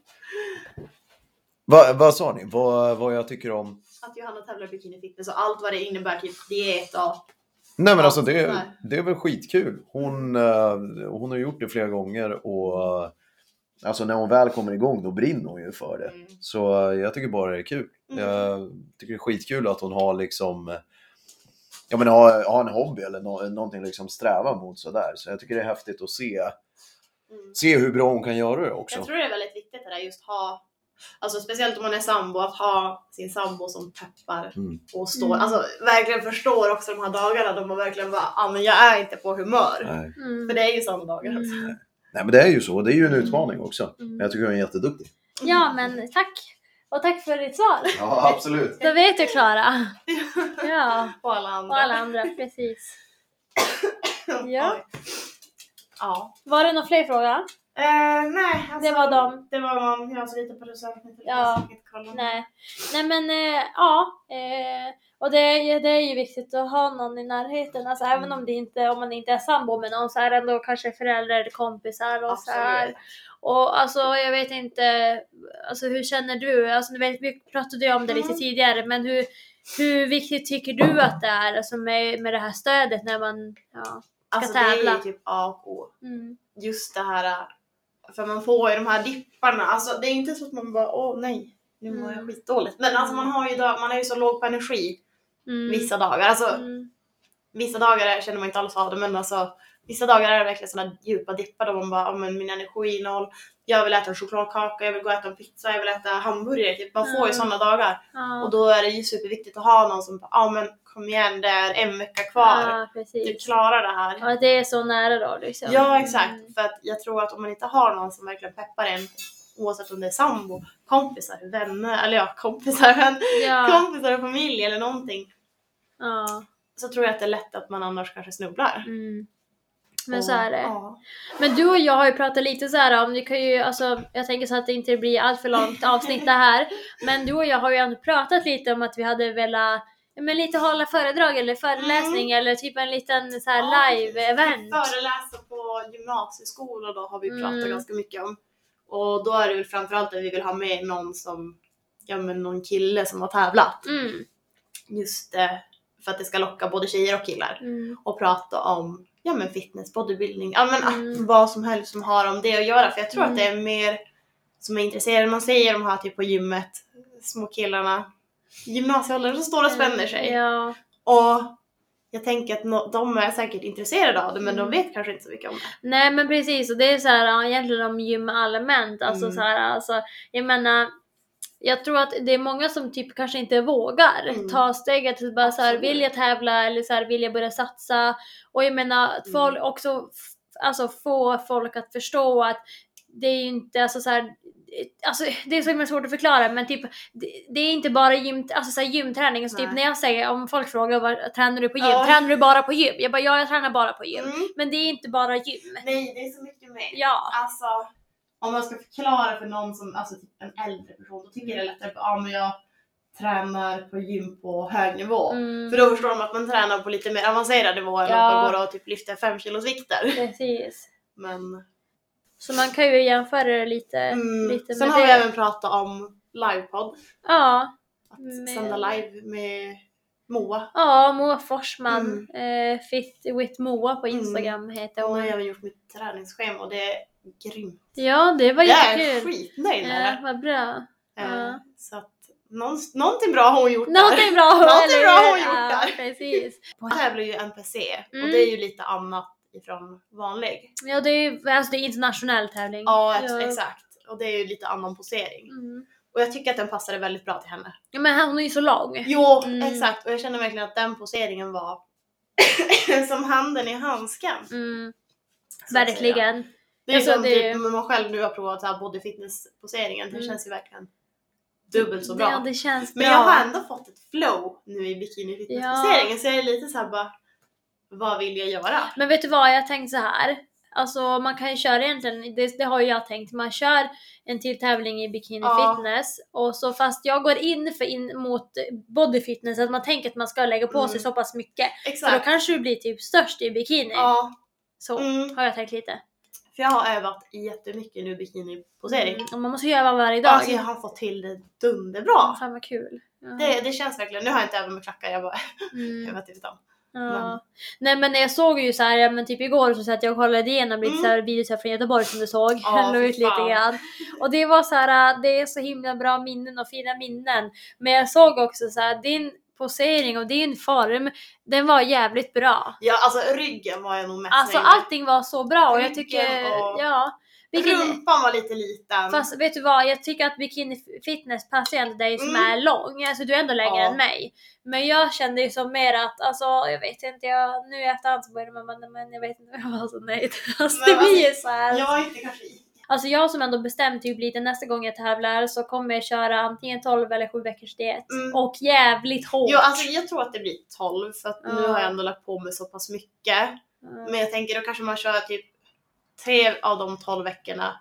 Vad vad sa ni? Vad, vad jag tycker om?
att Johanna tävlar i bikini fitness och allt vad det innebär, typ diet och...
Nej men
Ja,
alltså det,
nej.
är- det är väl skitkul. Hon, eh, hon har gjort det flera gånger och eh, alltså när hon väl kommer igång då brinner hon ju för det.
Mm.
Så eh, jag tycker bara det är kul.
Mm.
Jag tycker det är skitkul att hon har liksom eh, Ja men ha, ha en hobby eller nå- någonting liksom sträva mot sådär. Så jag tycker det är häftigt att se,
Mm.
se hur bra hon kan göra det också.
Jag tror det är väldigt viktigt det där just ha, alltså speciellt om man är sambo, att ha sin sambo som peppar
Mm.
och står,
Mm.
alltså verkligen förstår också de här dagarna då man verkligen bara, ah, men jag är inte på humör.
Nej.
Mm.
För det är ju sådana dagar också.
Mm.
Nej men det är ju så, det är ju en
Mm.
utmaning också. Men jag tycker hon är jätteduktig.
Ja, men tack. Och tack för ditt svar.
Ja absolut.
Då vet du Klara. Ja,
Och alla andra.
och alla andra. Precis. Ja.
Oj. ja.
Var det någon fler fråga?
Eh, nej, alltså,
Det var dem.
Det var dem. Jag har så lite producent. nu, för
Ja.
jag ska inte kolla.
Nej. Nej men eh, ja. Eh, och det, är ju- det är ju viktigt att ha någon i närheten. Alltså även
Mm.
om, det inte, om man inte är sambo med någon så är det ändå kanske föräldrar, kompisar och så här.
Absolut.
Och alltså jag vet inte, alltså hur känner du? Alltså du vet, vi pratade ju om det lite
Mm.
tidigare men hur, hur viktigt tycker du att det är alltså med, med det här stödet när man, ja.
Alltså det
tävla.
är ju typ A och O.
Mm.
just det här, för man får ju de här dipparna, alltså det är inte så att man bara åh nej, nu mår jag
Mm.
skitdåligt. Men alltså man har ju dag, man är ju så låg på energi
Mm.
vissa dagar. Alltså
Mm.
vissa dagar är- känner man inte alls av det men alltså vissa dagar är det verkligen sådana djupa dippar då man bara, ja men min energiinnehåll, jag vill äta en chokladkaka, jag vill gå och äta en pizza, jag vill äta hamburgare. Typ. Man får
Mm.
ju sådana dagar
Ja.
och då är det ju superviktigt att ha någon som bara, ja men kom igen det är en vecka kvar,
Ja,
du
precis.
klarar det här.
Och att det är så nära då liksom.
Ja exakt,
Mm.
för att jag tror att om man inte har någon som verkligen peppar en oavsett om det är sambo, kompisar, vänner, eller ja kompisar, men
Mm. Ja.
kompisar och familj eller någonting
ja.
så tror jag att det är lätt att man annars kanske snubblar.
Mm. Men
Och-
så är det.
Ja.
Men du och jag har ju pratat lite så här om, du kan ju, alltså, jag tänker så att det inte blir allt för långt avsnitt det här. Men du och jag har ju ändå pratat lite om att vi hade velat ja, men lite hålla föredrag eller föreläsning eller typ en liten så här
Mm. Ja,
live-event.
Föreläsa på gymnasieskolor då har vi pratat
Mm.
ganska mycket om. Och då är det väl framförallt att vi vill ha med någon som, ja men någon kille som har tävlat.
Mm.
Just eh, för att det ska locka både tjejer och killar.
Mm.
och prata om ja, men fitness, bodybuilding, ja, men
Mm.
att, vad som helst som har om det att göra. För jag tror
Mm.
att det är mer som är intresserade. Man ser de här typ på gymmet, små killarna, gymnasieåldern som står och spänner sig.
Mm. Ja.
Och jag tänker att nå- de är säkert intresserade av det men
Mm.
de vet kanske inte så mycket om det.
Nej men precis och det är så här ja, egentligen om gym allmänt. Alltså,
Mm.
så här, alltså, jag menar, jag tror att det är många som typ kanske inte vågar
Mm.
ta steget till bara så här,
Absolut.
vill jag tävla eller så här, vill jag börja satsa? Och jag menar att
Mm.
folk också f- alltså, få folk att förstå att det är ju inte alltså så här, Alltså, det är så himla svårt att förklara men typ det, det är inte bara gym, alltså, så här, gymträning. Alltså, typ
Nej.
när jag säger om folk frågar vad tränar du på gym?
Ja.
Tränar du bara på gym? Jag bara ja jag tränar bara på gym.
Mm.
Men det är inte bara gym.
Nej, det är så mycket mer.
Ja.
Alltså, om man ska förklara för någon som, alltså typ en äldre person, då tycker jag det är lättare att ja, men jag tränar på gym på hög nivå.
Mm,
För då förstår de att man tränar på lite mer avancerade nivåer än
Ja.
att man går och typ lyfter fem kilos vikter.
precis.
Men,
Så man kan ju jämföra det lite,
mm.
Eh, lite
Sen
med
har vi
det.
även pratat om livepodd.
Ja,
att
Men-
sända live med Moa.
Ja, Moa Forsman,
Mm.
eh, Fit with Moa på Instagram heter
Hon har
hon.
även gjort mitt träningsschema och det är grymt.
Ja, det var
Jag är
jättekul.
skitnöjd med
Ja,
det.
vad bra.
Eh,
ja.
Så att någon, någonting bra har hon gjort där.
Någonting bra
Någonting bra har hon
hur?
gjort
ja,
där.
Precis.
Hon tävlar ju i NPC och
Mm.
det är ju lite annat ifrån vanlig.
Ja, det är ju alltså, det är internationell tävling.
Ja, ex- exakt. Och det är ju lite annan posering.
Mm.
Och jag tycker att den passade väldigt bra till henne.
Ja, men hon är ju så lång.
Jo,
Mm.
exakt. Och jag känner verkligen att den poseringen var som handen i handsken.
Mm,
så att säga.
verkligen.
Det är ju
Alltså,
som
det är
typ
ju-
när man själv nu har provat så här body fitness poseringen. Det
Mm.
känns ju verkligen dubbelt så bra.
Ja, det känns bra.
Men jag har ändå fått ett flow nu i bikini fitness poseringen så jag är lite så här bara vad vill jag göra?
Men vet du vad, jag tänkte så här. Alltså man kan ju köra egentligen, det, det har ju jag tänkt, man kör en till tävling i bikini
Ja.
fitness och så fast jag går in, för in mot body fitness, att man tänker att man ska lägga på sig
Mm.
så pass mycket. Så då
Exakt.
kanske du blir typ störst i bikini.
Ja,
Så
mm.
har jag tänkt lite.
För jag har övat jättemycket nu bikini posering.
Mm. Och man måste göra varje dag.
Alltså jag har fått till det dunderbra.
Fan vad kul. Ja.
Det, det känns verkligen, nu har jag inte övat med klackar, jag bara
Mm.
övat utan. Men-
Ja. Nej men jag såg ju så här, ja, men typ igår så satt jag och kollade igenom lite
Mm.
så här videos här från Göteborg som du såg.
Ja,
Jag la
fy
ut lite
fan.
grann. Och det var så här, äh, det är så himla bra minnen och fina minnen. Men jag såg också så här, din posering och din form, den var jävligt bra.
Ja alltså ryggen var jag nog mest
Alltså
nöjd med.
allting var så bra och jag
Ryggen
tycker,
och
ja. Vilken,
Rumpan var lite liten.
fast vet du vad, jag tycker att bikini fitness passar ju ändå dig som
Mm.
är lång, alltså du är ändå längre
Ja.
än mig. Men jag kände ju som mer att, alltså jag vet inte, jag, nu i efterhand så börjar man, men- men jag vet inte, jag var så nöjd. Alltså
Men
det blir
alltså,
ju såhär.
jag var inte kanske i.
Alltså jag som ändå bestämt typ lite nästa gång jag tävlar så kommer jag köra antingen 12 eller 7 veckors diet.
Mm.
Och jävligt hårt.
Jo, alltså jag tror att det blir 12 för att nu
Ja.
har jag ändå lagt på mig så pass mycket.
Mm.
Men jag tänker då kanske man kör typ tre av de 12 veckorna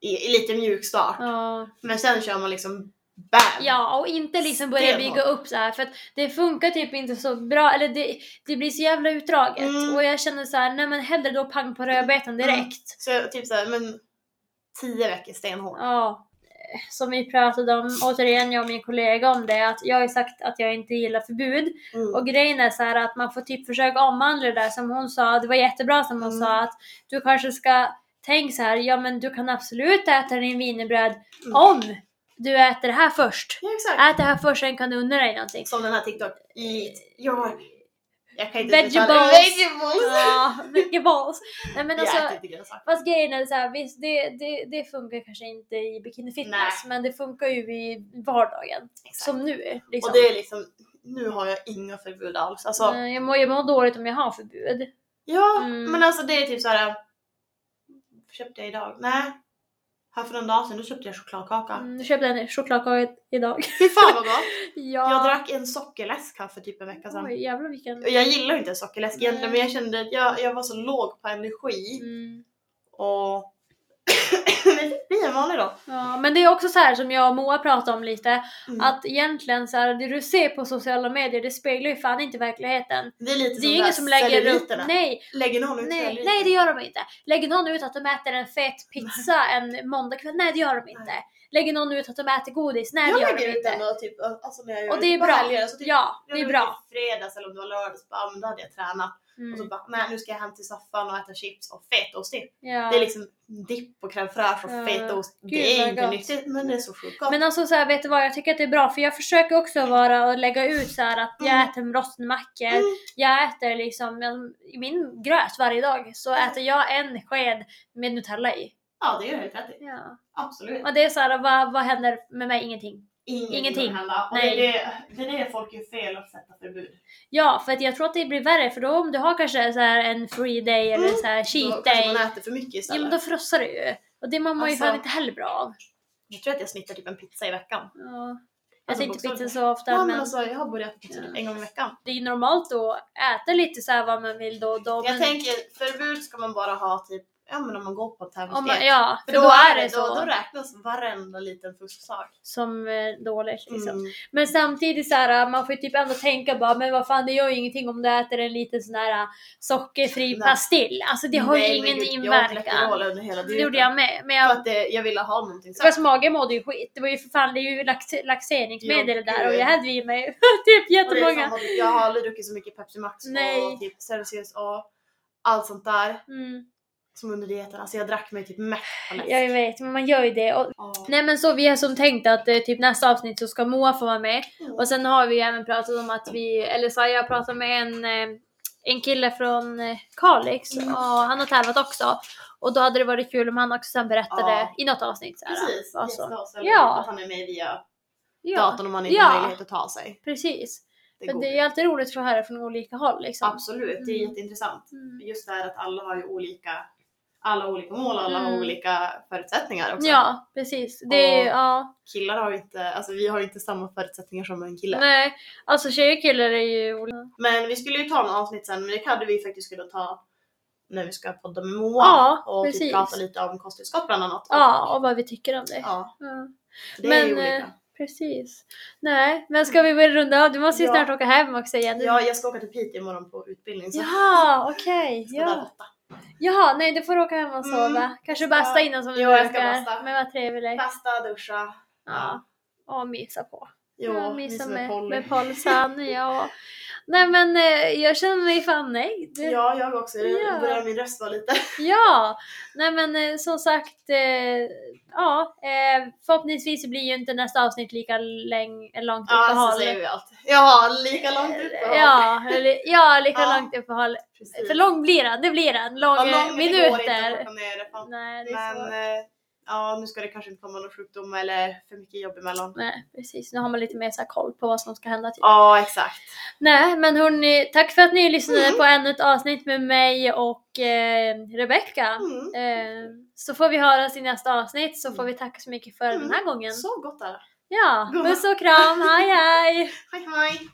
i, i lite mjuk start.
Ja.
Men sen kör man liksom bam!
Ja, och inte liksom börja
Stenhårt.
bygga upp så här för att det funkar typ inte så bra, eller det, det blir så jävla utdraget.
Mm.
Och jag känner så här, nej men hellre då pang på rödbetan direkt.
Så jag, typ såhär, men 10 veckor stenhårt.
Ja. Som vi pratade om, återigen jag och min kollega om det, att jag har ju sagt att jag inte gillar förbud.
Mm.
Och grejen är så här att man får typ försöka omvandla det där som hon sa, det var jättebra som hon
Mm.
sa att du kanske ska tänka så här, ja men du kan absolut äta din wienerbröd
Mm.
om du äter det här först.
Ja exakt!
Ät det här först, sen kan du unna dig någonting.
Som den här TikTok. Eat your... Jag kan inte
Vegetables.
uttala- Vegetables!
Ja, mycket balls. Nej men alltså,
jag äter inte grönsaker.
fast grejen är så här, visst det, det, det funkar kanske inte i bikini fitness, men det funkar ju i vardagen.
Exakt.
Som nu. Liksom.
Och det är liksom, nu har jag inga förbud alls. Alltså,
Eh, Jag mår, jag mår dåligt om jag har förbud.
Ja,
Mm.
men alltså det är typ såhär... Köpte jag idag? Nej. Här för någon dag sedan, då köpte jag chokladkaka.
Mm, jag köpte en chokladkaka idag.
Fy fan vad gott!
ja.
Jag drack en sockerläsk här för typ en vecka sedan.
Oj, jävlar vilken...
Och Jag gillar ju inte sockerläsk egentligen
Nej.
men jag kände att jag, jag var så låg på energi
Mm.
och vi är en vanlig dag.
Ja, men det är också så här som jag och Moa pratade om lite,
Mm.
att egentligen så här, det du ser på sociala medier det speglar ju fan inte verkligheten.
det är lite
Det är ju
där
ingen som lägger upp...
celluliterna.
Nej,
Lägger någon ut
Nej,
celluliter?
nej det gör de inte. Lägger någon ut att de äter en fet pizza en måndagkväll? Nej det gör de inte.
Nej.
Lägger någon ut att de äter godis? Nej
jag
det gör de
lägger ut den
inte.
och typ, alltså när jag gör
Och det är
på
bra.
helger, alltså typ,
Ja,
jag
det är
la ut
bra.
i typ fredags eller om det var lördags, bara, ah, men då hade jag tränat. Och så
Mm.
bara, nej nu ska jag hem till soffan och äta chips och fetostdipp.
Ja.
Det är liksom dipp och crème fraîche och
Ja.
fetaost.
Gud,
Det är
vad
inte
gott.
nyttigt men det är så sjukt gott.
Men alltså så här, vet du vad, jag tycker att det är bra för jag försöker också vara och lägga ut så här att jag
Mm.
äter en rostmackor,
Mm.
jag äter liksom, jag- i min gröt varje dag så
Mm.
äter jag en sked med Nutella i.
Ja det gör jag helt rätt i.
Ja.
Absolut.
Och det är så här, vad, vad händer med mig? Ingenting. Ingenting.
kommer hända. Och
Nej.
det är det, det är det folk gör fel att sätta förbud.
Ja, för att jag tror att det blir värre för då om du har kanske så här en free day eller
Mm.
så här
Då
cheat day.
kanske man äter för mycket
Ja
istället.
men då frossar det ju. Och det mår man ju
Alltså-
fan inte heller bra av.
Jag tror att jag snittar typ en pizza i veckan.
Ja. Jag
Alltså,
äter inte
bokstavligen.
pizza så ofta
Ja, men
men
alltså, jag har börjat äta pizza typ en gång i veckan.
det är ju normalt då att äta lite så här vad man vill då och då.
Jag
Men...
tänker förbud ska man bara ha typ ja men om man går på en
Om
tävlingsdag.
man, ja,
För då, är det,
så.
Då, då räknas varenda liten fusksak.
som eh, dåligt liksom.
Mm.
Men samtidigt så här, man får ju typ ändå tänka bara, men vad fan det gör ju ingenting om du äter en liten sån här eh, sockerfri
Nej.
pastill. Alltså det har
Nej,
ju ingen
men gud, Jag åt
inverkan.
Läkerol under hela
Det
dieten.
gjorde jag med. Men
För
jag,
att det, jag ville ha någonting söt.
fast magen mådde ju skit. Det var ju för fan, det är ju lax, laxeringsmedel
Jo,
det där och
gud.
jag hade i mig typ
Och det är
jättemånga.
samma- Jag har aldrig druckit så mycket Pepsi Max
Nej.
och typ Celsius och allt sånt där
Mm,
som under dieten. Alltså jag drack mig typ mätt på läsk.
jag vet, men man gör ju det. Och,
Ja.
nej men så vi har som tänkt att eh, typ nästa avsnitt så ska Moa få vara med.
Mm.
Och sen har vi ju även pratat om att vi, eller så har jag pratat med en, eh, en kille från eh, Kalix
Mm.
och han har tävlat också. Och då hade det varit kul om han också sen berättade
Ja.
i något avsnitt. Så här,
Precis,
vad så.
gästa oss eller
Ja.
att han är med via
Ja,
datorn om han inte
Ja.
har möjlighet att ta sig.
precis.
Det
Men
går
det är
ju.
ju alltid roligt att få höra från olika håll liksom.
Absolut, det är
Mm.
jätteintressant.
Mm.
Just det här att alla har ju olika, alla har olika mål, alla har
Mm.
olika förutsättningar också.
Ja, precis. Det är ju,
Och-
ja.
Killar har ju inte, alltså vi har ju inte samma förutsättningar som en kille.
Nej, alltså tjejer och killar är ju olika.
Men vi skulle ju ta något avsnitt sen, men det hade vi faktiskt skulle ta när vi ska podda med Moa
Ja,
och
precis.
typ prata lite om kosttillskott bland annat.
Ja, och vad vi tycker om det.
ja
Ja,
det är
Men,
ju
eh,
olika.
precis. Nej, men ska vi börja runda av? Du måste ju
Ja.
snart åka hem också igen.
Ja, jag ska åka till Piteå imorgon på utbildning så
Ja, okej.
jag ska
Ja.
där borta.
Jaha, nej du får åka hem och sova.
Mm.
Kanske
Jag ska-
basta innan som du
Jo, jag ska
brukar.
basta.
Men vad trevligt.
Fasta, duscha.
Ja. Och mysa på.
Jo,
ja,
ni
mysa
som är
med,
poly.
med Polsan. Ja. Nej men eh, jag känner mig fan nöjd.
Ja, jag också. Det
Ja.
börjar min röst vara lite...
Ja. Nej men eh, som sagt, eh, ja. Eh, förhoppningsvis så blir ju inte nästa avsnitt lika läng- långt
Ja,
uppehåll.
så säger vi allt. Ja, lika långt uppehåll.
Ja, eller- ja, lika
Ja.
långt uppehåll.
Precis.
För lång blir den, det blir den. Lång,
Ja, lång
eh,
det Går inte att
minuter.
korta ner det, fan.
Nej, det är
Men
svårt.
eh, ja, nu ska det kanske inte komma någon sjukdom eller för mycket jobb emellan.
Nej, precis. Nu har man lite mer så här koll på vad som ska hända. Typ.
Ja, exakt.
Nej, men hörni, tack för att ni lyssnade
Mm.
på ännu ett avsnitt med mig och eh, Rebecka.
Mm.
Eh, så får vi höras i nästa avsnitt så får vi tacka så mycket för
Mm.
den här gången.
Så gott är det.
Ja,
Gumma.
puss och kram, hej hej!
Hej hej!